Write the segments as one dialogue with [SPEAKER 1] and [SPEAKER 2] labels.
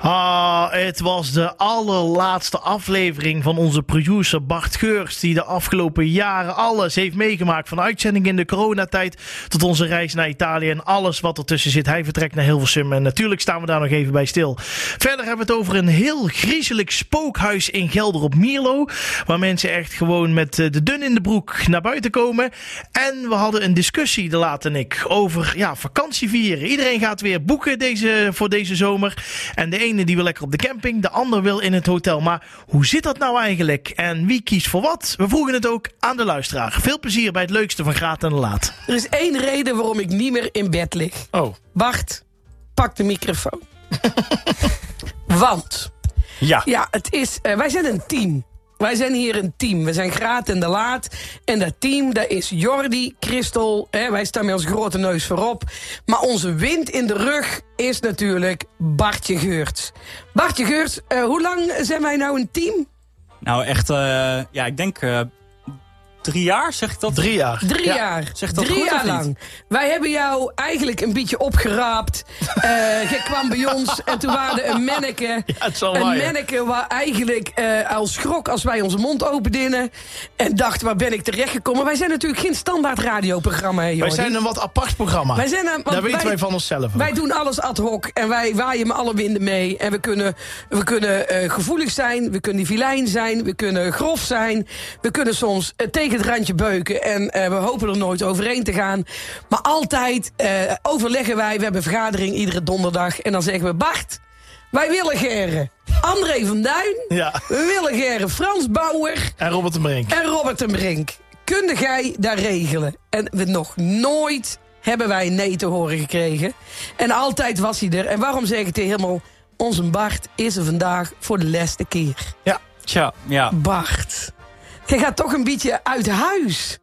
[SPEAKER 1] Ah, het was de allerlaatste aflevering van onze producer Bart Geurs, die de afgelopen jaren alles heeft meegemaakt. Van uitzending in de coronatijd tot onze reis naar Italië en alles wat ertussen zit. Hij vertrekt naar Hilversum en natuurlijk staan we daar nog even bij stil. Verder hebben we het over een heel griezelig spookhuis in Gelder op Mierlo, waar mensen echt gewoon met eh, de dun in de broek naar buiten komen. En we hadden een discussie, de laat en ik, over ja, vakantie vieren. Iedereen gaat weer boeken deze, voor deze zomer. En de ene die wil lekker op de camping, de ander wil in het hotel. Maar hoe zit dat nou eigenlijk? En wie kiest voor wat? We vroegen het ook aan de luisteraar. Veel plezier bij het leukste van Graat en de Laat.
[SPEAKER 2] Er is één reden waarom ik niet meer in bed lig.
[SPEAKER 1] Oh,
[SPEAKER 2] Wacht, pak de microfoon. Want,
[SPEAKER 1] ja.
[SPEAKER 2] ja, het is, eh, wij zijn een team. Wij zijn hier een team. We zijn Graat en de Laat. En dat team, dat is Jordi, Christel. Hè, wij staan met ons grote neus voorop. Maar onze wind in de rug is natuurlijk Bartje Geurts. Bartje Geurts, eh, hoe lang zijn wij nou een team?
[SPEAKER 3] Nou, echt, eh, ja, ik denk eh, drie jaar, zeg ik dat?
[SPEAKER 1] Drie jaar.
[SPEAKER 2] Drie jaar.
[SPEAKER 3] zeg dat
[SPEAKER 2] Drie
[SPEAKER 3] goed of
[SPEAKER 2] jaar
[SPEAKER 3] niet?
[SPEAKER 2] lang. Wij hebben jou eigenlijk een beetje opgeraapt. Eh je kwam bij ons en toen waren er een manneke.
[SPEAKER 1] het zal
[SPEAKER 2] een
[SPEAKER 1] waaien.
[SPEAKER 2] manneke waar eigenlijk eh al schrok als wij onze mond openden. En dacht, waar ben ik terechtgekomen? Wij zijn natuurlijk geen standaard radioprogramma, hè,
[SPEAKER 1] Wij
[SPEAKER 2] Jordi?
[SPEAKER 1] zijn een wat apart programma.
[SPEAKER 2] Wij zijn, eh, want
[SPEAKER 1] Ah, Daar weten
[SPEAKER 2] wij-
[SPEAKER 1] wij van onszelf. ook.
[SPEAKER 2] Wij doen alles ad hoc en wij waaien met alle winden mee. En we kunnen, we kunnen eh, gevoelig zijn, we kunnen vilijn zijn, we kunnen grof zijn. We kunnen soms eh, tegen het randje beuken en eh, we hopen er nooit overheen te gaan. Maar altijd eh, overleggen wij, we hebben een vergadering iedere donderdag. En dan zeggen we, Bart, wij willen Gerren. André van Duin,
[SPEAKER 1] Ja.
[SPEAKER 2] we willen Gerren. Frans Bauer
[SPEAKER 1] En Robert de Brink.
[SPEAKER 2] en Robert en Brink. Kunnen jij daar regelen? En we nog nooit hebben wij een nee te horen gekregen. En altijd was hij er. En waarom zeg ik het helemaal? Onze Bart is er vandaag voor de laatste keer.
[SPEAKER 3] Tja, ja.
[SPEAKER 2] Bart. Jij gaat toch een beetje uit huis.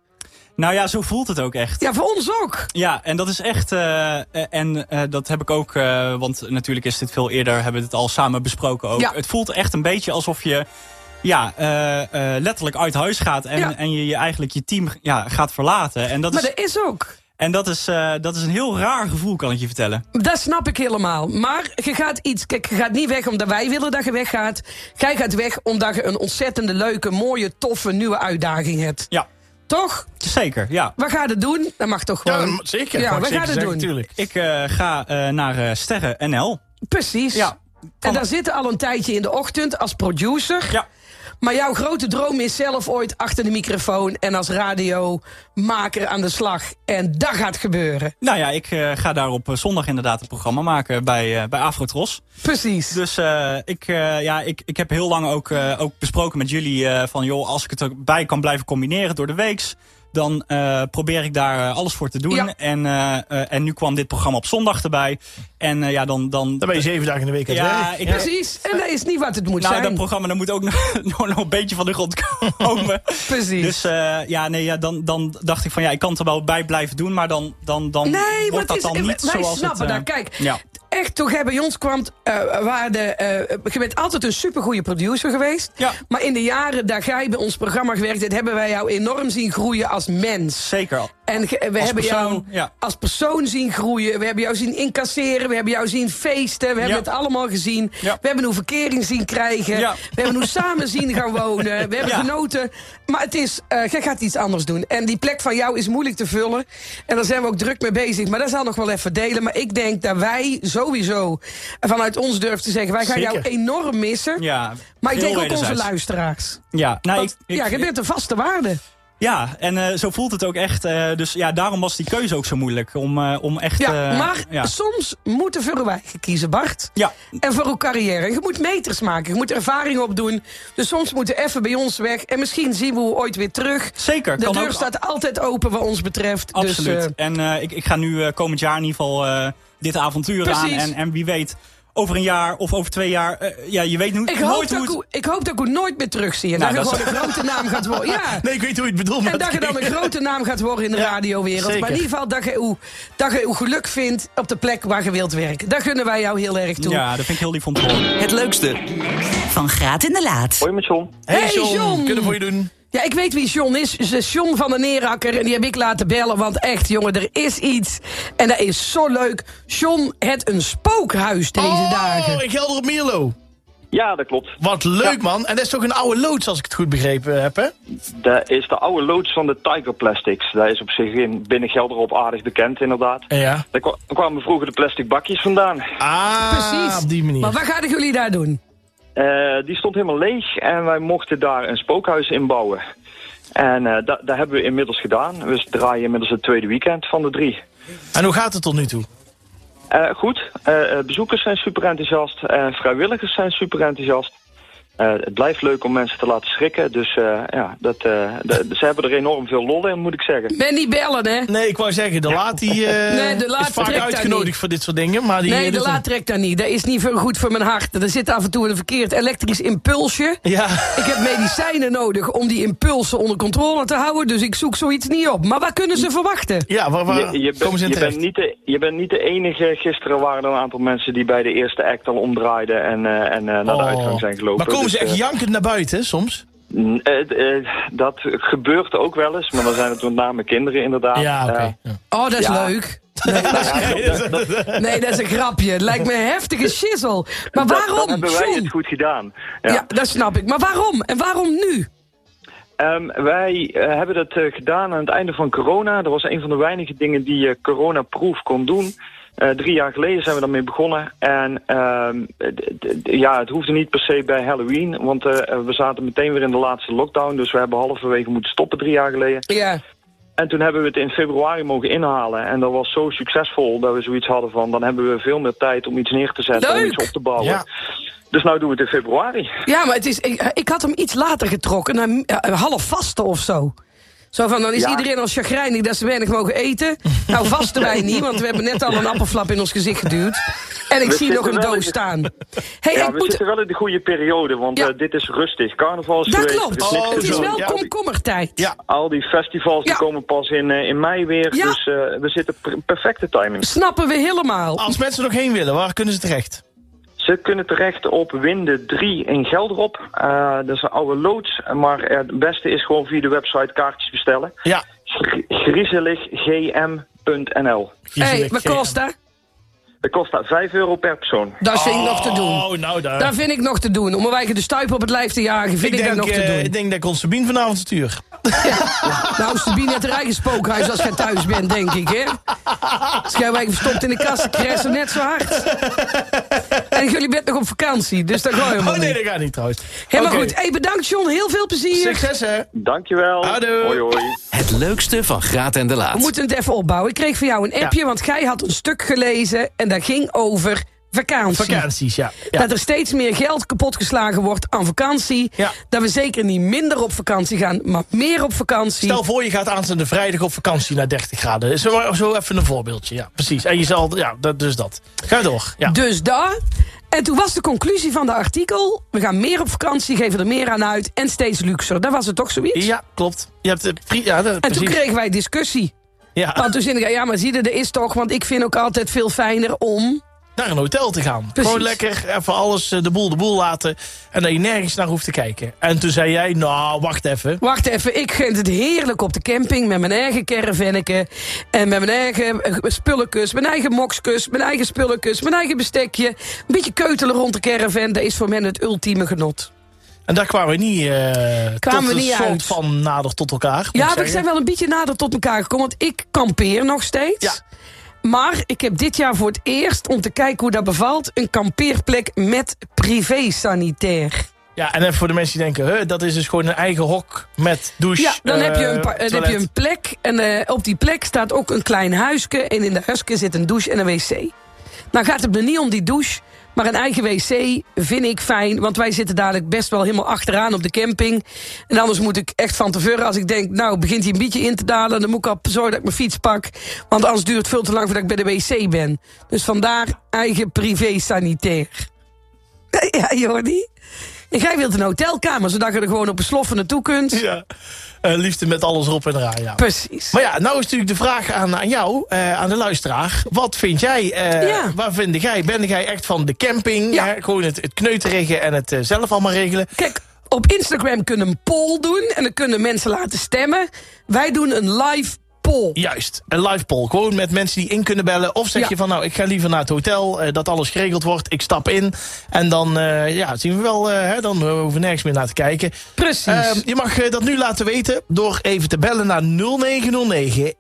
[SPEAKER 3] Nou ja, zo voelt het ook echt.
[SPEAKER 2] Ja, voor ons ook.
[SPEAKER 3] Ja, en dat is echt, eh, eh, en eh, dat heb ik ook, eh, want natuurlijk is dit veel eerder, hebben we het al samen besproken ook.
[SPEAKER 2] Ja.
[SPEAKER 3] Het voelt echt een beetje alsof je, ja, eh, eh, letterlijk uit huis gaat en,
[SPEAKER 2] Ja.
[SPEAKER 3] en je, je eigenlijk je team ja, gaat verlaten. En dat
[SPEAKER 2] Maar
[SPEAKER 3] is,
[SPEAKER 2] dat is ook.
[SPEAKER 3] en dat, is, eh, dat is een heel raar gevoel, kan ik je vertellen.
[SPEAKER 2] Dat snap ik helemaal. Maar je gaat iets. Kijk, je gaat niet weg omdat wij willen dat je weggaat. Jij gaat weg omdat je een ontzettende leuke, mooie, toffe, nieuwe uitdaging hebt.
[SPEAKER 3] Ja,
[SPEAKER 2] Toch?
[SPEAKER 3] zeker, ja.
[SPEAKER 2] We gaan het doen. Dat mag toch
[SPEAKER 1] Ja,
[SPEAKER 2] gewoon.
[SPEAKER 1] dat- zeker.
[SPEAKER 2] Ja,
[SPEAKER 1] Mag
[SPEAKER 2] we
[SPEAKER 1] zeker
[SPEAKER 2] gaan het
[SPEAKER 1] zeggen,
[SPEAKER 2] doen.
[SPEAKER 1] Tuurlijk.
[SPEAKER 3] Ik eh, ga eh, naar eh, Sterren NL.
[SPEAKER 2] Precies.
[SPEAKER 3] Ja.
[SPEAKER 2] En daar zitten al een tijdje in de ochtend als producer.
[SPEAKER 3] Ja.
[SPEAKER 2] Maar jouw grote droom is zelf ooit achter de microfoon en als radiomaker aan de slag. En dat gaat gebeuren.
[SPEAKER 3] Nou ja, ik eh, ga daar op eh, zondag inderdaad een programma maken bij, eh, bij Afrotros.
[SPEAKER 2] Precies.
[SPEAKER 3] Dus eh, ik, eh, ja, ik, ik heb heel lang ook, eh, ook besproken met jullie eh, van... joh, als ik het ook bij kan blijven combineren door de weeks... dan eh, probeer ik daar eh, alles voor te doen.
[SPEAKER 2] Ja.
[SPEAKER 3] En, eh, eh, en nu kwam dit programma op zondag erbij. En eh, ja, dan... dan,
[SPEAKER 1] Dan ben je zeven dagen in de week aan het
[SPEAKER 3] Ja,
[SPEAKER 1] werk.
[SPEAKER 3] ik-
[SPEAKER 2] Precies. En dat is niet wat het moet
[SPEAKER 3] nou, dat
[SPEAKER 2] zijn.
[SPEAKER 3] programma dat moet ook nog, nog nog een beetje van de grond komen.
[SPEAKER 2] Precies.
[SPEAKER 3] Dus eh, ja, nee, ja, dan, dan dacht ik van ja, ik kan het er wel bij blijven doen, maar dan, dan, dan
[SPEAKER 2] nee, maar
[SPEAKER 3] eh, wordt
[SPEAKER 2] het
[SPEAKER 3] dat
[SPEAKER 2] is,
[SPEAKER 3] dan niet
[SPEAKER 2] wij
[SPEAKER 3] zoals
[SPEAKER 2] snappen
[SPEAKER 3] het, eh,
[SPEAKER 2] dat. Kijk,
[SPEAKER 3] ja.
[SPEAKER 2] echt toen jij bij ons kwam, eh, waren de, eh, je bent altijd een supergoeie producer geweest.
[SPEAKER 3] Ja.
[SPEAKER 2] Maar in de jaren dat jij bij ons programma gewerkt hebt, hebben wij jou enorm zien groeien als mens.
[SPEAKER 3] Zeker.
[SPEAKER 2] En ge- we hebben jou
[SPEAKER 3] persoon, ja.
[SPEAKER 2] als persoon zien groeien. We hebben jou zien incasseren. We hebben jou zien feesten. We hebben
[SPEAKER 3] Ja.
[SPEAKER 2] het allemaal gezien.
[SPEAKER 3] Ja.
[SPEAKER 2] We hebben hoe verkering zien krijgen.
[SPEAKER 3] Ja.
[SPEAKER 2] We hebben hoe samen zien gaan wonen. We hebben
[SPEAKER 3] Ja.
[SPEAKER 2] genoten. Maar het is, eh jij gaat iets anders doen. En die plek van jou is moeilijk te vullen. En daar zijn we ook druk mee bezig. Maar dat zal nog wel even delen. Maar ik denk dat wij sowieso vanuit ons durven te zeggen... wij gaan
[SPEAKER 1] Zeker.
[SPEAKER 2] jou enorm missen.
[SPEAKER 3] Ja,
[SPEAKER 2] Maar ik
[SPEAKER 3] heel
[SPEAKER 2] denk ook onze
[SPEAKER 3] wederzijds.
[SPEAKER 2] luisteraars.
[SPEAKER 3] Ja, nou,
[SPEAKER 2] Want,
[SPEAKER 3] ik, ik-
[SPEAKER 2] ja, je bent een vaste waarde.
[SPEAKER 3] ja, en eh, zo voelt het ook echt. eh, dus ja, daarom was die keuze ook zo moeilijk. Om, eh, om echt.
[SPEAKER 2] Ja,
[SPEAKER 3] eh,
[SPEAKER 2] maar
[SPEAKER 3] Ja.
[SPEAKER 2] soms moeten we voor wij kiezen, Bart.
[SPEAKER 3] Ja.
[SPEAKER 2] En voor uw carrière. Je moet meters maken. Je moet ervaring opdoen. Dus soms moeten we even bij ons weg. En misschien zien we u ooit weer terug.
[SPEAKER 3] Zeker,
[SPEAKER 2] De
[SPEAKER 3] kan
[SPEAKER 2] deur
[SPEAKER 3] ook.
[SPEAKER 2] staat altijd open wat ons betreft.
[SPEAKER 3] Absoluut.
[SPEAKER 2] Dus, eh,
[SPEAKER 3] en eh, ik, ik ga nu eh, komend jaar in ieder geval eh, dit avontuur aan.
[SPEAKER 2] Precies.
[SPEAKER 3] En, en wie weet, over een jaar of over twee jaar. eh, ja, je weet nu,
[SPEAKER 2] ik, hoop
[SPEAKER 3] nooit
[SPEAKER 2] dat
[SPEAKER 3] hoe
[SPEAKER 2] ik,
[SPEAKER 3] het...
[SPEAKER 2] u, ik hoop dat ik u nooit meer terugzie. En
[SPEAKER 3] Nou,
[SPEAKER 2] dat je
[SPEAKER 3] dat is-
[SPEAKER 2] gewoon een grote naam gaat worden. Ja.
[SPEAKER 1] Nee, ik weet hoe je het bedoelt. maar
[SPEAKER 2] En dat je dan een grote naam gaat worden in de
[SPEAKER 1] Ja,
[SPEAKER 2] radiowereld.
[SPEAKER 1] zeker.
[SPEAKER 2] Maar in ieder geval dat je, uw, dat je uw geluk vindt op de plek waar je wilt werken. Daar gunnen wij jou heel erg toe.
[SPEAKER 3] Ja, dat vind ik heel lief om te horen.
[SPEAKER 4] Het leukste,
[SPEAKER 5] Van Graat in de Laat.
[SPEAKER 6] Hoi met John.
[SPEAKER 1] Hey
[SPEAKER 2] Hey, John.
[SPEAKER 1] John, kunnen we voor je doen?
[SPEAKER 2] Ja, ik weet wie John is. Ze is John van de Neerakker. En die heb ik laten bellen. Want echt, jongen, er is iets. En dat is zo leuk. John, het een spookhuis deze
[SPEAKER 1] Oh,
[SPEAKER 2] dagen.
[SPEAKER 1] in Gelder op Mierlo.
[SPEAKER 6] Ja, dat klopt.
[SPEAKER 1] Wat leuk, man. En dat is toch een oude loods, als ik het goed begrepen heb, hè?
[SPEAKER 6] Dat is de oude loods van de Tiger Plastics. Dat is op zich in binnen Gelderop aardig bekend, inderdaad.
[SPEAKER 1] Ja.
[SPEAKER 6] Daar kwa- kwamen vroeger de plastic bakjes vandaan.
[SPEAKER 1] Ah,
[SPEAKER 2] Precies.
[SPEAKER 1] op die manier.
[SPEAKER 2] Maar wat gaan jullie daar doen?
[SPEAKER 6] Eh, die stond helemaal leeg en wij mochten daar een spookhuis in bouwen. En eh, dat, dat hebben we inmiddels gedaan. We draaien inmiddels het tweede weekend van de drie.
[SPEAKER 1] En hoe gaat het tot nu toe?
[SPEAKER 6] Eh, goed, eh, eh, bezoekers zijn super enthousiast. eh, vrijwilligers zijn super enthousiast. Eh, het blijft leuk om mensen te laten schrikken. Dus eh, ja, dat, eh, d- ze hebben er enorm veel lol in, moet ik zeggen.
[SPEAKER 2] Ben niet bellen, hè?
[SPEAKER 1] Nee, ik wou zeggen, de laat die, eh,
[SPEAKER 2] Nee, de laat
[SPEAKER 1] is vaak
[SPEAKER 2] trekt daar niet.
[SPEAKER 1] uitgenodigd voor dit soort dingen. Maar die, eh,
[SPEAKER 2] Nee,
[SPEAKER 1] dit
[SPEAKER 2] de
[SPEAKER 1] is
[SPEAKER 2] laat trekt daar niet. Dat is niet veel goed voor mijn hart. Er zit af en toe een verkeerd elektrisch impulsje.
[SPEAKER 1] een- Ja.
[SPEAKER 2] Ik heb medicijnen nodig om die impulsen onder controle te houden. Dus ik zoek zoiets niet op. Maar wat kunnen ze verwachten?
[SPEAKER 1] Ja, waar, waar
[SPEAKER 6] Je, je, bent-
[SPEAKER 1] komen ze in
[SPEAKER 6] je, bent
[SPEAKER 1] terecht?
[SPEAKER 6] niet de, je bent niet de enige. Gisteren waren er een aantal mensen die bij de eerste act al omdraaiden en, eh, en eh, naar de
[SPEAKER 1] Oh.
[SPEAKER 6] uitgang zijn gelopen.
[SPEAKER 1] Maar komen
[SPEAKER 6] Dus,
[SPEAKER 1] ze echt
[SPEAKER 6] eh,
[SPEAKER 1] jankend naar buiten, hè, soms?
[SPEAKER 6] Mm, eh, eh, dat gebeurt ook wel eens, maar dan zijn het met name kinderen inderdaad.
[SPEAKER 1] Ja, oké.
[SPEAKER 6] Eh,
[SPEAKER 1] Ja.
[SPEAKER 2] Oh, dat is
[SPEAKER 6] Ja.
[SPEAKER 2] leuk. Nee, dat is, nee, dat is een grapje. Het lijkt me een heftige shizzle. Maar
[SPEAKER 6] dat- Dan
[SPEAKER 2] waarom,
[SPEAKER 6] hebben wij het
[SPEAKER 2] John?
[SPEAKER 6] goed gedaan. Ja.
[SPEAKER 2] Ja. dat snap ik. Maar waarom? En waarom nu?
[SPEAKER 6] Ehm, wij eh, hebben dat eh, gedaan aan het einde van corona. Dat was een van de weinige dingen die je coronaproof kon doen. Eh, drie jaar geleden zijn we daarmee begonnen. En ehm, d- d- d- ja, het hoefde niet per se bij Halloween. Want eh, we zaten meteen weer in de laatste lockdown. Dus we hebben halverwege moeten stoppen drie jaar geleden.
[SPEAKER 2] Ja.
[SPEAKER 6] En toen hebben we het in februari mogen inhalen. En dat was zo succesvol dat we zoiets hadden van... dan hebben we veel meer tijd om iets neer te zetten en
[SPEAKER 2] Leuk!
[SPEAKER 6] iets op te bouwen.
[SPEAKER 1] Ja.
[SPEAKER 6] Dus nou doen we het in februari.
[SPEAKER 2] ja, maar het is, ik, ik had hem iets later getrokken. Naar eh, half vaste of zo. Zo van, dan is
[SPEAKER 6] Ja.
[SPEAKER 2] iedereen al chagrijnig dat ze weinig mogen eten. Nou, vasten wij niet, want we hebben net al een appelflap in ons gezicht geduwd. En ik
[SPEAKER 6] We
[SPEAKER 2] zie nog
[SPEAKER 6] zitten
[SPEAKER 2] een
[SPEAKER 6] wel in
[SPEAKER 2] doos
[SPEAKER 6] de-
[SPEAKER 2] staan. hey,
[SPEAKER 6] Ja,
[SPEAKER 2] ik
[SPEAKER 6] we
[SPEAKER 2] moet...
[SPEAKER 6] zitten wel in de goede periode, want
[SPEAKER 2] Ja.
[SPEAKER 6] eh, dit is rustig. Carnaval is
[SPEAKER 2] Dat
[SPEAKER 6] geweest. er
[SPEAKER 2] klopt.
[SPEAKER 6] is niks
[SPEAKER 1] Oh,
[SPEAKER 2] het is
[SPEAKER 6] te
[SPEAKER 1] zo.
[SPEAKER 6] doen.
[SPEAKER 2] wel
[SPEAKER 1] Ja.
[SPEAKER 2] komkommertijd.
[SPEAKER 1] Ja.
[SPEAKER 6] Al die
[SPEAKER 2] Ja.
[SPEAKER 6] festivals die komen pas in, eh, in mei weer.
[SPEAKER 2] Ja.
[SPEAKER 6] Dus eh, we zitten per- perfecte timing.
[SPEAKER 2] Snappen we helemaal.
[SPEAKER 1] Als mensen er nog heen willen, waar kunnen ze terecht?
[SPEAKER 6] Ze kunnen terecht op Winde 3 in Gelderop. Eh, dat is een oude loods. Maar eh, het beste is gewoon via de website kaartjes bestellen.
[SPEAKER 1] Ja.
[SPEAKER 6] Gri- Griezeliggm.nl.
[SPEAKER 2] hey, wat kost dat?
[SPEAKER 6] Dat kost daar 5 euro per persoon.
[SPEAKER 2] Dat vind ik nog te doen.
[SPEAKER 1] Oh, nou daar.
[SPEAKER 2] Dat vind ik nog te doen. Om een wijken de stuip op het lijf te jagen, vind
[SPEAKER 1] ik,
[SPEAKER 2] ik,
[SPEAKER 1] denk,
[SPEAKER 2] dat nog te
[SPEAKER 1] eh,
[SPEAKER 2] doen.
[SPEAKER 1] ik denk dat ik ons Sabine vanavond stuur.
[SPEAKER 2] Nou, Sabine heeft haar eigen spookhuis als jij thuis bent, denk ik, hè? Schijnwijk verstopt in de kast, kressen net zo hard. En jullie bent nog op vakantie, dus daar ga je
[SPEAKER 1] Oh
[SPEAKER 2] maar
[SPEAKER 1] nee,
[SPEAKER 2] niet.
[SPEAKER 1] dat gaat niet trouwens.
[SPEAKER 2] Helemaal
[SPEAKER 1] Oké.
[SPEAKER 2] goed. Hey, bedankt John, heel veel plezier.
[SPEAKER 1] Succes, hè?
[SPEAKER 6] Dankjewel.
[SPEAKER 1] Houdoe.
[SPEAKER 6] Hoi hoi.
[SPEAKER 4] Het leukste van Graat en de Laat.
[SPEAKER 2] We moeten het even opbouwen. Ik kreeg van jou een appje, want jij had een stuk gelezen en dat ging over vakantie.
[SPEAKER 1] Vakanties, ja. ja.
[SPEAKER 2] Dat er steeds meer geld kapotgeslagen wordt aan vakantie.
[SPEAKER 1] Ja.
[SPEAKER 2] Dat we zeker niet minder op vakantie gaan, maar meer op vakantie.
[SPEAKER 1] Stel voor, je gaat aanstaande vrijdag op vakantie naar 30 graden. Zo, zo even een voorbeeldje, ja. Precies. En je zal, ja, dat, dus dat. Ga door, ja.
[SPEAKER 2] Dus daar. En toen was de conclusie van de artikel... we gaan meer op vakantie, geven er meer aan uit... en steeds luxer. Dat was het toch zoiets?
[SPEAKER 1] Ja, klopt. Je hebt, eh, pri- ja, dat-
[SPEAKER 2] En toen
[SPEAKER 1] precies.
[SPEAKER 2] kregen wij discussie.
[SPEAKER 1] ja,
[SPEAKER 2] Want toen zei ik, ja, maar zie je, er is toch... want ik vind ook altijd veel fijner om...
[SPEAKER 1] naar een hotel te gaan.
[SPEAKER 2] Precies.
[SPEAKER 1] Gewoon lekker even alles eh, de boel de boel laten. En dat je nergens naar hoeft te kijken. En toen zei jij, nou, wacht even.
[SPEAKER 2] Wacht even, ik vind het heerlijk op de camping met mijn eigen caravanneke. En met mijn eigen eh, spullenkus, mijn eigen mokskus, mijn eigen spullenkus, mijn eigen bestekje. Een beetje keutelen rond de caravan, dat is voor men het ultieme genot.
[SPEAKER 1] En daar kwamen we niet, eh, tot
[SPEAKER 2] we
[SPEAKER 1] een
[SPEAKER 2] niet
[SPEAKER 1] soort
[SPEAKER 2] uit.
[SPEAKER 1] van nader tot elkaar. moet ik
[SPEAKER 2] Ja, we
[SPEAKER 1] zeggen.
[SPEAKER 2] zijn wel een beetje nader tot elkaar gekomen, want ik kampeer nog steeds.
[SPEAKER 1] Ja.
[SPEAKER 2] Maar ik heb dit jaar voor het eerst, om te kijken hoe dat bevalt, een kampeerplek met privé-sanitair.
[SPEAKER 1] Ja, en even voor de mensen die denken, huh, dat is dus gewoon een eigen hok met douche.
[SPEAKER 2] Ja, dan heb, je
[SPEAKER 1] eh,
[SPEAKER 2] een pa- dan heb
[SPEAKER 1] toilet.
[SPEAKER 2] je een plek en eh, op die plek staat ook een klein huisje. En in dat huisje zit een douche en een wc. Nou gaat het me niet om die douche, maar een eigen wc vind ik fijn. Want wij zitten dadelijk best wel helemaal achteraan op de camping. En anders moet ik echt van tevoren, als ik denk, nou begint hij een beetje in te dalen... dan moet ik al zorgen dat ik mijn fiets pak. Want anders duurt het veel te lang voordat ik bij de wc ben. Dus vandaar eigen privé-sanitair. Ja, Jordi? En jij wilt een hotelkamer, zodat je er gewoon op een sloffen naartoe kunt.
[SPEAKER 1] Ja. Eh, liefde met alles erop en eraan, ja.
[SPEAKER 2] Precies.
[SPEAKER 1] Maar ja, nou is natuurlijk de vraag aan, aan jou, eh, aan de luisteraar. Wat vind jij, eh
[SPEAKER 2] Ja.
[SPEAKER 1] waar vind jij? Ben jij echt van de camping?
[SPEAKER 2] Ja.
[SPEAKER 1] hè? gewoon het, het kneuterige en het eh, zelf allemaal regelen?
[SPEAKER 2] Kijk, Op Instagram kunnen we een poll doen en dan kunnen mensen laten stemmen. Wij doen een live poll.
[SPEAKER 1] Juist, een live poll. Gewoon met mensen die in kunnen bellen. Of zeg
[SPEAKER 2] Ja.
[SPEAKER 1] je van, nou, ik ga liever naar het hotel, eh, dat alles geregeld wordt. Ik stap in en dan eh, ja, zien we wel, eh, hè, dan eh, hoeven we nergens meer naar te kijken.
[SPEAKER 2] Precies.
[SPEAKER 1] Ehm, je mag eh, dat nu laten weten door even te bellen naar 0909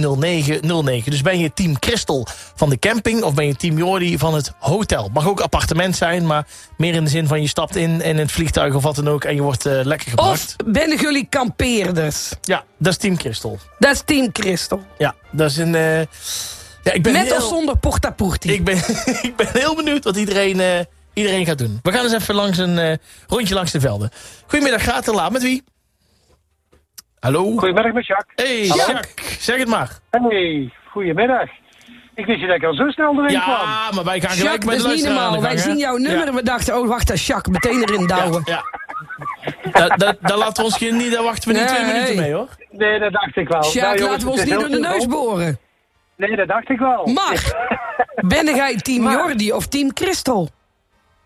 [SPEAKER 1] 1230909. Dus ben je team Christel van de camping of ben je team Jordi van het hotel? Mag ook appartement zijn, maar meer in de zin van je stapt in in het vliegtuig of wat dan ook en je wordt eh, lekker
[SPEAKER 2] of
[SPEAKER 1] gebracht.
[SPEAKER 2] ben jullie kampeerders?
[SPEAKER 1] Ja, dat is team Christel.
[SPEAKER 2] Dat is Team Christel.
[SPEAKER 1] Ja, dat is een... eh, ja, ik ben
[SPEAKER 2] Met
[SPEAKER 1] heel,
[SPEAKER 2] of zonder porta porti.
[SPEAKER 1] ik ben, ik ben heel benieuwd wat iedereen, eh, iedereen gaat doen. We gaan eens even langs een eh, rondje langs de velden. Goedemiddag, gaat te laat met wie? Hallo?
[SPEAKER 7] Goedemiddag met Jacques.
[SPEAKER 1] Hey,
[SPEAKER 2] Hallo?
[SPEAKER 1] Jacques, zeg het maar.
[SPEAKER 7] Hey, goedemiddag. Ik wist niet dat ik al zo snel erin kwam.
[SPEAKER 1] Ja, maar wij gaan gelijk
[SPEAKER 2] Jacques,
[SPEAKER 1] met
[SPEAKER 2] dat
[SPEAKER 1] de
[SPEAKER 2] is niet
[SPEAKER 1] luisteraar aan
[SPEAKER 2] normaal.
[SPEAKER 1] de
[SPEAKER 2] Wij
[SPEAKER 1] gang,
[SPEAKER 2] zien
[SPEAKER 1] hè? Oh,
[SPEAKER 2] jouw nummer en we dachten, oh wacht, dat is Jacques. Meteen erin douwen.
[SPEAKER 1] Ja. ja. Da- da- Daar laten we ons geen, daar wachten we niet
[SPEAKER 2] Nee.
[SPEAKER 1] twee minuten mee, hoor.
[SPEAKER 7] Nee, dat dacht ik wel. Nou,
[SPEAKER 2] Sjaak,
[SPEAKER 7] jongens,
[SPEAKER 2] laten we ons
[SPEAKER 7] het is
[SPEAKER 2] niet door
[SPEAKER 7] heel
[SPEAKER 2] de neus
[SPEAKER 7] simpel.
[SPEAKER 2] boren.
[SPEAKER 7] Nee, dat dacht ik wel.
[SPEAKER 2] Maar, ben jij team Jordi of team Christel?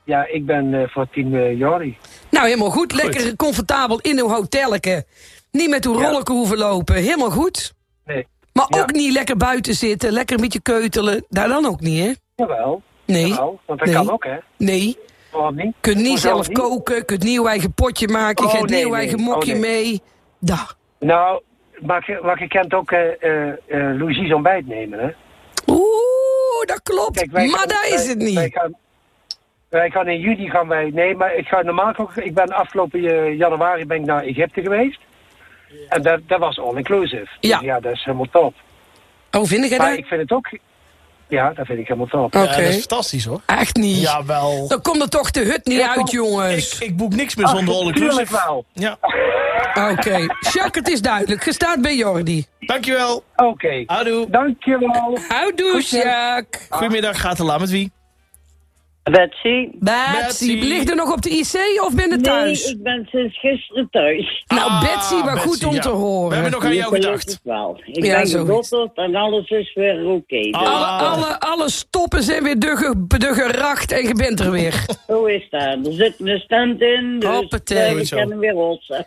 [SPEAKER 7] Ja, ik ben eh, voor team eh, Jordi.
[SPEAKER 2] Nou, helemaal goed. Lekker comfortabel in uw hotelletje. Niet met uw rollen hoeven lopen. Helemaal goed.
[SPEAKER 7] Nee,
[SPEAKER 2] Maar
[SPEAKER 7] Ja.
[SPEAKER 2] ook niet lekker buiten zitten, lekker een beetje keutelen. Daar dan ook niet, hè?
[SPEAKER 7] jawel.
[SPEAKER 2] Nee.
[SPEAKER 7] Jawel, Nou, want dat
[SPEAKER 2] Nee.
[SPEAKER 7] kan ook, hè.
[SPEAKER 2] Nee.
[SPEAKER 7] Waarom niet?
[SPEAKER 2] Kunt niet
[SPEAKER 7] Hoezo
[SPEAKER 2] zelf koken, kunt niet uw eigen potje maken,
[SPEAKER 7] Oh,
[SPEAKER 2] gaat niet
[SPEAKER 7] nee,
[SPEAKER 2] uw
[SPEAKER 7] nee.
[SPEAKER 2] eigen mokje
[SPEAKER 7] Oh, nee.
[SPEAKER 2] mee. Da.
[SPEAKER 7] Nou, maar, je- maar je kent ook eh eh eh, Louis' ontbijt nemen, hè.
[SPEAKER 2] Oeh, dat klopt.
[SPEAKER 7] wij
[SPEAKER 2] maar
[SPEAKER 7] gaan-
[SPEAKER 2] daar
[SPEAKER 7] wij-
[SPEAKER 2] is het
[SPEAKER 7] Wij
[SPEAKER 2] niet.
[SPEAKER 7] gaan, wij gaan in juni gaan wij. Nee, maar ik ga normaal ook. Ik ben afgelopen eh, januari ben ik naar Egypte geweest. En dat, dat was all inclusive.
[SPEAKER 2] Ja.
[SPEAKER 7] Dus ja, dat is helemaal top.
[SPEAKER 2] Oh, vind ik
[SPEAKER 7] Maar
[SPEAKER 2] dat?
[SPEAKER 7] ik vind het ook. Ja, dat vind ik helemaal top.
[SPEAKER 2] Oké.
[SPEAKER 1] Ja, dat is fantastisch, hoor.
[SPEAKER 2] Echt niet.
[SPEAKER 1] Jawel.
[SPEAKER 2] Dan komt er toch de hut niet uit,
[SPEAKER 1] Ik,
[SPEAKER 2] jongens.
[SPEAKER 1] ik boek niks meer zonder all
[SPEAKER 7] Tuurlijk
[SPEAKER 1] inclusive.
[SPEAKER 7] wel.
[SPEAKER 1] Ja,
[SPEAKER 2] Oké. Jacques, het is duidelijk. Gestaat bij Jordi.
[SPEAKER 1] dankjewel.
[SPEAKER 7] Oké.
[SPEAKER 1] Houdoe.
[SPEAKER 7] Dankjewel.
[SPEAKER 2] Houdoe, Jacques.
[SPEAKER 1] Goedemiddag, gaat te laat met wie?
[SPEAKER 8] Betsy?
[SPEAKER 2] Betsy,
[SPEAKER 1] Betsy.
[SPEAKER 2] ligt er nog op de IC of ben je thuis?
[SPEAKER 8] Nee, ik ben sinds gisteren thuis.
[SPEAKER 2] Nou,
[SPEAKER 1] Ah,
[SPEAKER 2] Betsy, maar
[SPEAKER 1] Betsy,
[SPEAKER 2] goed om
[SPEAKER 1] ja.
[SPEAKER 2] te
[SPEAKER 1] We
[SPEAKER 2] horen.
[SPEAKER 1] hebben nog aan jou
[SPEAKER 8] Gelukkig
[SPEAKER 1] gedacht.
[SPEAKER 8] wel. Ik
[SPEAKER 2] Ja,
[SPEAKER 8] ben
[SPEAKER 2] zo is Ah.
[SPEAKER 8] gebotteld en alles is weer oké. Dus
[SPEAKER 2] Alle, alle, alle stoppen zijn weer de, ge- de geracht en je bent er weer.
[SPEAKER 8] Zo is dat. Er zit een stand in, dus
[SPEAKER 2] Hoppatee.
[SPEAKER 8] eh,
[SPEAKER 1] Goed
[SPEAKER 8] ik
[SPEAKER 1] zo.
[SPEAKER 8] kan hem weer rossen.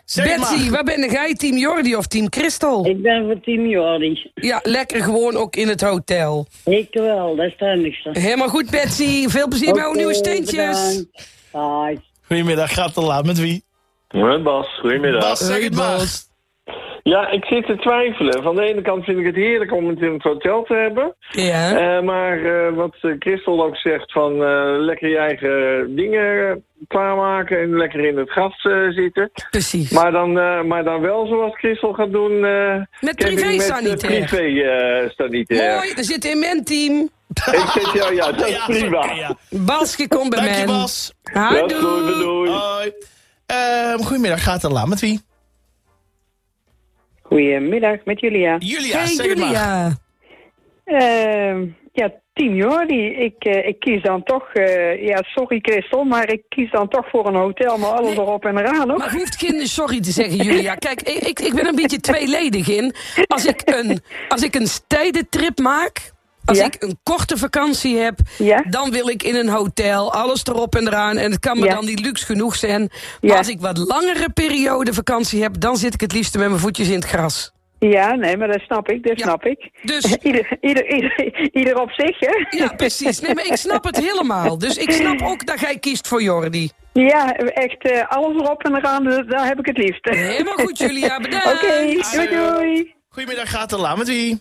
[SPEAKER 1] Zeg het
[SPEAKER 2] Betsy,
[SPEAKER 1] maar.
[SPEAKER 2] waar ben jij? Team Jordi of team Christel?
[SPEAKER 8] Ik ben voor team Jordi.
[SPEAKER 2] Ja, lekker gewoon ook in het hotel.
[SPEAKER 8] Ik wel, dat is het enigste.
[SPEAKER 2] Helemaal goed, Betsy. Veel plezier bij uw
[SPEAKER 8] Oké,
[SPEAKER 2] nieuwe steentjes.
[SPEAKER 8] bedankt. Bye.
[SPEAKER 1] Goedemiddag, gaat te laat met wie?
[SPEAKER 6] Met Bas, goedemiddag.
[SPEAKER 1] Bas, zeg het maar.
[SPEAKER 2] Bas.
[SPEAKER 6] Ja, ik zit te twijfelen. Van de ene kant vind ik het heerlijk om het in het hotel te hebben.
[SPEAKER 2] Ja.
[SPEAKER 6] Eh, maar eh, wat eh, Christel ook zegt, van eh, lekker je eigen dingen klaarmaken en lekker in het gas eh, zitten.
[SPEAKER 2] Precies.
[SPEAKER 6] Maar dan, eh, maar dan wel zoals Christel gaat doen. eh,
[SPEAKER 2] Met
[SPEAKER 6] camping
[SPEAKER 2] privé-sanitair.
[SPEAKER 6] Met eh, privé-sanitair.
[SPEAKER 2] Mooi, er zit in mijn team.
[SPEAKER 6] ik zit, ja, ja, dat is
[SPEAKER 1] Ja,
[SPEAKER 6] prima.
[SPEAKER 1] oké, ja.
[SPEAKER 2] Bas, je komt bij
[SPEAKER 1] Dank
[SPEAKER 2] mij.
[SPEAKER 1] je, Bas.
[SPEAKER 6] Ja, doei, doei.
[SPEAKER 1] Hoi. Ehm, goedemiddag, gaat te laat met wie?
[SPEAKER 9] Goedemiddag, met Julia.
[SPEAKER 1] Julia,
[SPEAKER 2] Hey,
[SPEAKER 1] zeg het maar.
[SPEAKER 2] Julia.
[SPEAKER 9] Ehm, ja, Team Jordi. Ik, eh, ik kies dan toch... eh, ja, sorry Christel, maar ik kies dan toch voor een hotel met alles erop en eraan. Ook.
[SPEAKER 2] Maar je hoeft geen sorry te zeggen, Julia. Kijk, ik, ik, ik ben een beetje tweeledig in. Als ik een, als ik een stedentrip maak, als
[SPEAKER 9] Ja.
[SPEAKER 2] ik een korte vakantie heb,
[SPEAKER 9] Ja.
[SPEAKER 2] dan wil ik in een hotel, alles erop en eraan. En het kan me
[SPEAKER 9] Ja.
[SPEAKER 2] dan niet luxe genoeg zijn. Maar
[SPEAKER 9] Ja.
[SPEAKER 2] als ik wat langere periode vakantie heb, dan zit ik het liefst met mijn voetjes in het gras.
[SPEAKER 9] Ja, nee, maar dat snap ik, dat
[SPEAKER 2] Ja.
[SPEAKER 9] snap ik.
[SPEAKER 2] Dus-
[SPEAKER 9] Ieder, ieder, ieder, ieder op zich, hè?
[SPEAKER 2] Ja, precies. Nee, maar ik snap het helemaal. Dus ik snap ook dat jij kiest voor Jordi.
[SPEAKER 9] Ja, echt eh, alles erop en eraan, dus daar heb ik het liefst.
[SPEAKER 2] Helemaal goed, Julia. Bedankt.
[SPEAKER 9] Oké, doei doei.
[SPEAKER 1] Goedemiddag, gaat te laat met wie?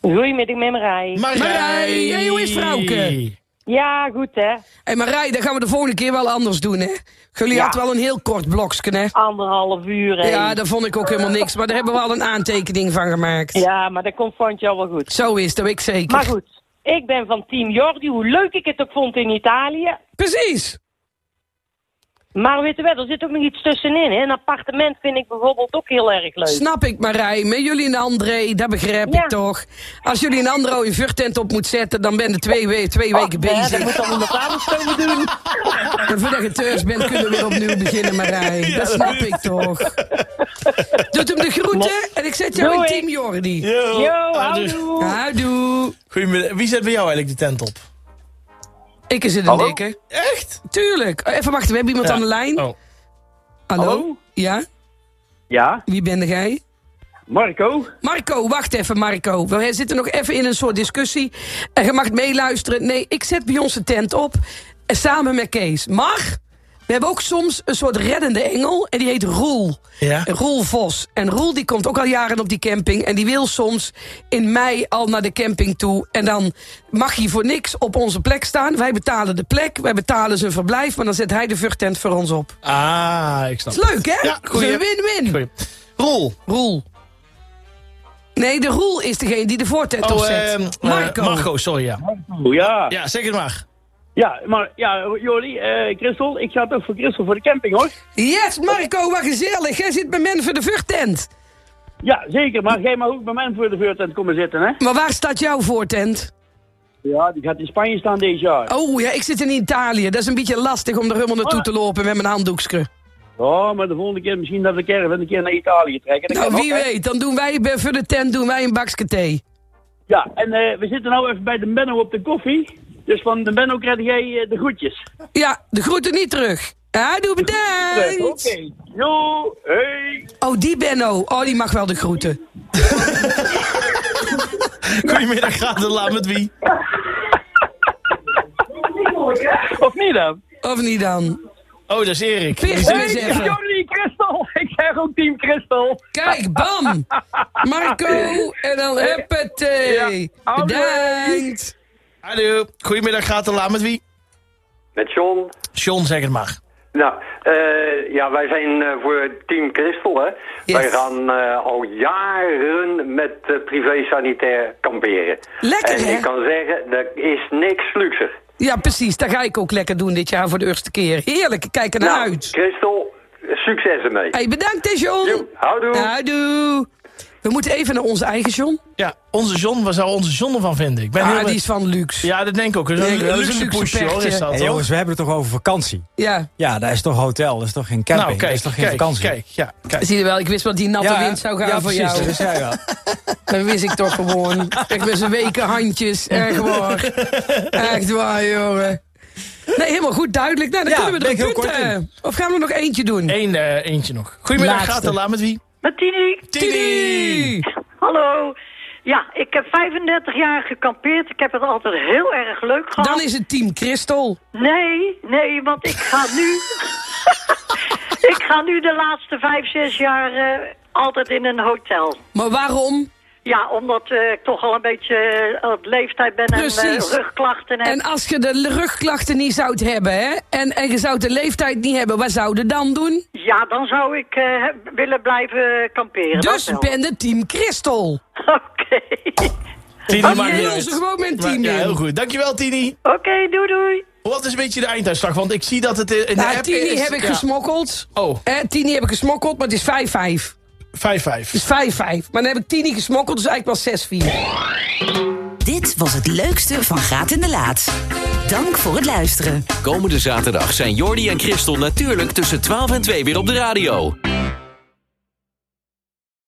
[SPEAKER 8] Goedemiddag, met Marij.
[SPEAKER 1] Marij.
[SPEAKER 2] Marij, hey, hoe is vrouwke?
[SPEAKER 8] Ja, goed hè.
[SPEAKER 2] Hé, maar Rij, dat gaan we de volgende keer wel anders doen, hè? Jullie
[SPEAKER 8] Ja. Ah,
[SPEAKER 2] hadden wel een heel kort blokje, hè?
[SPEAKER 8] Anderhalf uur. hè.
[SPEAKER 2] Ja, daar vond ik ook helemaal niks. Maar daar hebben we al een aantekening van gemaakt.
[SPEAKER 8] ja, maar dat komt van jou wel goed.
[SPEAKER 2] Zo is het, dat weet ik zeker.
[SPEAKER 8] Maar goed, ik ben van team Jordi. Hoe leuk ik het ook vond in Italië.
[SPEAKER 2] Precies.
[SPEAKER 8] Maar weet je wel, er zit ook nog iets tussenin. Hè? Een appartement vind ik bijvoorbeeld ook heel erg leuk.
[SPEAKER 2] Snap ik, Marij. Met jullie en André, dat begrijp
[SPEAKER 8] Ja.
[SPEAKER 2] ik toch. Als jullie een Andro in vuurtent op moet zetten, dan ben je twee, we- twee weken
[SPEAKER 8] Oh, Ja,
[SPEAKER 2] bezig.
[SPEAKER 8] dat moet dan iemand anders komen doen.
[SPEAKER 2] En voordat je thuis bent, kunnen we weer opnieuw beginnen, Marij. Dat snap ik toch. Doet hem de groeten en ik zet jou in
[SPEAKER 8] Doei.
[SPEAKER 2] team Jordi.
[SPEAKER 1] Yo,
[SPEAKER 8] Yo,
[SPEAKER 1] Houdoe.
[SPEAKER 8] houdoe.
[SPEAKER 2] Houdoe.
[SPEAKER 1] Goedemiddag. Wie zet bij jou eigenlijk de tent op?
[SPEAKER 2] Ik is het een dikke.
[SPEAKER 1] Echt?
[SPEAKER 2] Tuurlijk. Even wachten, we hebben iemand
[SPEAKER 1] Ja.
[SPEAKER 2] aan de lijn.
[SPEAKER 1] Oh.
[SPEAKER 2] Hallo? Ja?
[SPEAKER 7] Ja?
[SPEAKER 2] Wie ben jij?
[SPEAKER 7] Marco?
[SPEAKER 2] Marco, wacht even Marco. We zitten nog even in een soort discussie. En je mag meeluisteren. Nee, ik zet bij ons de tent op. eh, Samen met Kees. Maar we hebben ook soms een soort reddende engel. En die heet Roel.
[SPEAKER 1] Ja.
[SPEAKER 2] Roel Vos. En Roel die komt ook al jaren op die camping. En die wil soms in mei al naar de camping toe. En dan mag hij voor niks op onze plek staan. Wij betalen de plek. Wij betalen zijn verblijf. Maar dan zet hij de vluchttent voor ons op.
[SPEAKER 1] Ah, ik snap
[SPEAKER 2] Dat is leuk, hè?
[SPEAKER 1] Ja,
[SPEAKER 2] Dat is
[SPEAKER 1] goeie.
[SPEAKER 2] een win-win. Roel. Roel. Nee, de Roel is degene die de voortent
[SPEAKER 1] Oh,
[SPEAKER 2] opzet.
[SPEAKER 1] ehm, eh,
[SPEAKER 2] Marco.
[SPEAKER 1] Marco, sorry, ja.
[SPEAKER 7] Ja.
[SPEAKER 1] Ja, zeg het maar.
[SPEAKER 7] Ja, maar ja, Jori, eh Christel, ik ga toch voor Christel voor de camping hoor.
[SPEAKER 2] Yes, Marco, wat gezellig. Jij zit bij men voor de vluchttent.
[SPEAKER 7] Ja, zeker, maar jij mag ook bij mij voor de vuurtent komen zitten hè.
[SPEAKER 2] Maar waar staat jouw voortent?
[SPEAKER 7] Ja, die gaat in Spanje staan deze jaar.
[SPEAKER 2] Oh ja, ik zit in Italië. Dat is een beetje lastig om er helemaal naartoe
[SPEAKER 7] Ah.
[SPEAKER 2] te lopen met mijn handdoekje.
[SPEAKER 7] Oh, maar de volgende keer misschien dat we de caravan een keer naar Italië trekken. Dat
[SPEAKER 2] Nou,
[SPEAKER 7] kan
[SPEAKER 2] wie
[SPEAKER 7] ook, hè?
[SPEAKER 2] weet. Dan doen wij bij voor de tent doen wij een bakje thee.
[SPEAKER 7] Ja, en eh, we zitten nou even bij de Benno op de koffie. Dus van de Benno krijg jij eh, de groetjes.
[SPEAKER 2] Ja, de groeten niet terug. Ja, doe bedankt.
[SPEAKER 7] Oké. Jo, hey.
[SPEAKER 2] Oh, die Benno. Oh, die mag wel de groeten.
[SPEAKER 1] Goedemiddag, gaat het laat met wie?
[SPEAKER 7] Of niet dan?
[SPEAKER 2] Of niet dan?
[SPEAKER 1] Oh, dat is Erik.
[SPEAKER 2] Pist me eens even.
[SPEAKER 7] Jori, Christel. Ik zeg ook team Christel.
[SPEAKER 2] Kijk, bam! Marco, en dan huppatee.
[SPEAKER 7] Ja, afleiding.
[SPEAKER 2] Bedankt.
[SPEAKER 1] Hallo. Goedemiddag, gaat het laat met wie?
[SPEAKER 10] Met John.
[SPEAKER 1] John, zeg het maar.
[SPEAKER 10] Nou, eh, ja, wij zijn eh, voor Team Christel, hè. Wij gaan eh, al jaren met eh, privé-sanitair kamperen.
[SPEAKER 2] Lekker,
[SPEAKER 10] En
[SPEAKER 2] hè?
[SPEAKER 10] ik kan zeggen, er is niks luxer.
[SPEAKER 2] Ja, precies. Dat ga ik ook lekker doen dit jaar voor de eerste keer. Heerlijk, ik kijk ernaar
[SPEAKER 10] nou,
[SPEAKER 2] uit.
[SPEAKER 10] Christel, succes ermee.
[SPEAKER 2] Hey, bedankt, hè, John.
[SPEAKER 10] Houdoe.
[SPEAKER 2] Houdoe. We moeten even naar onze eigen John.
[SPEAKER 1] Ja, onze John, waar zou onze John ervan vinden? Ik ben
[SPEAKER 2] Ah,
[SPEAKER 1] heel
[SPEAKER 2] die is van luxe.
[SPEAKER 1] Ja, dat denk ik ook. Dat is
[SPEAKER 2] Nee,
[SPEAKER 1] een,
[SPEAKER 2] dat is
[SPEAKER 1] luxe
[SPEAKER 2] een luxe
[SPEAKER 1] poesje, hoor,
[SPEAKER 2] pechtje.
[SPEAKER 1] is dat,
[SPEAKER 11] Hey,
[SPEAKER 1] hoor.
[SPEAKER 11] jongens, we hebben het toch over vakantie?
[SPEAKER 2] Ja.
[SPEAKER 11] Ja, daar is toch hotel, dat is toch geen camping,
[SPEAKER 1] Nou,
[SPEAKER 11] dat
[SPEAKER 1] kijk,
[SPEAKER 11] is toch geen
[SPEAKER 1] kijk,
[SPEAKER 11] vakantie?
[SPEAKER 1] kijk, ja, kijk.
[SPEAKER 2] Zie je wel, ik wist wel dat die natte
[SPEAKER 11] Ja,
[SPEAKER 2] wind zou gaan
[SPEAKER 11] ja,
[SPEAKER 2] voor
[SPEAKER 11] precies,
[SPEAKER 2] jou.
[SPEAKER 11] dat zei je wel.
[SPEAKER 2] Dat wist ik toch gewoon. Echt met zijn weken handjes. Echt waar. Echt waar, jongen. Nee, helemaal goed, duidelijk. Nou, dan
[SPEAKER 1] Ja,
[SPEAKER 2] kunnen we
[SPEAKER 1] ben
[SPEAKER 2] er
[SPEAKER 1] ik heel
[SPEAKER 2] een punt,
[SPEAKER 1] kort in.
[SPEAKER 2] eh, Of gaan we er nog eentje doen?
[SPEAKER 1] Eén, eh, eentje nog. Goedemiddag,
[SPEAKER 2] Laatste.
[SPEAKER 1] gaat het laat met wie?
[SPEAKER 8] Met Tini.
[SPEAKER 1] Tini!
[SPEAKER 8] Hallo. Ja, ik heb 35 jaar gekampeerd. Ik heb het altijd heel erg leuk gehad.
[SPEAKER 2] Dan is het team Christel.
[SPEAKER 8] Nee, nee, want ik ga nu... ik ga nu de laatste 5, 6 jaar eh, altijd in een hotel.
[SPEAKER 2] Maar waarom?
[SPEAKER 8] Ja, omdat eh, ik toch al een beetje eh, op leeftijd ben en eh,
[SPEAKER 2] Precies.
[SPEAKER 8] rugklachten heb.
[SPEAKER 2] En als je de rugklachten niet zou hebben, hè? En, en je zou de leeftijd niet hebben, wat zou je dan doen?
[SPEAKER 8] Ja, dan zou ik eh, willen blijven kamperen.
[SPEAKER 2] dus
[SPEAKER 8] dat wel.
[SPEAKER 2] ben de team Christel.
[SPEAKER 8] Oké.
[SPEAKER 1] Tini,
[SPEAKER 2] Oh,
[SPEAKER 1] maakt
[SPEAKER 2] je
[SPEAKER 1] niet
[SPEAKER 2] wil
[SPEAKER 1] uit.
[SPEAKER 2] ze gewoon mijn
[SPEAKER 1] Maar-
[SPEAKER 2] team
[SPEAKER 1] Ja,
[SPEAKER 2] in.
[SPEAKER 1] heel goed. Dankjewel, Tini.
[SPEAKER 8] Oké, doei doei.
[SPEAKER 1] Wat is een beetje de einduitslag? Want ik zie dat het eh, in de
[SPEAKER 2] Nou,
[SPEAKER 1] app
[SPEAKER 2] Tini
[SPEAKER 1] is...
[SPEAKER 2] heb ik
[SPEAKER 1] ja.
[SPEAKER 2] gesmokkeld.
[SPEAKER 1] Oh.
[SPEAKER 2] Eh, Tini heb ik gesmokkeld, maar het is 5-5.
[SPEAKER 1] 5-5.
[SPEAKER 2] Het is 5-5. Maar dan heb ik Tini gesmokkeld, dus eigenlijk wel 6-4.
[SPEAKER 5] Dit was het leukste van Graat in de Laat. Dank voor het luisteren.
[SPEAKER 4] Komende zaterdag zijn Jordi en Christel natuurlijk tussen 12 en 2 weer op de radio.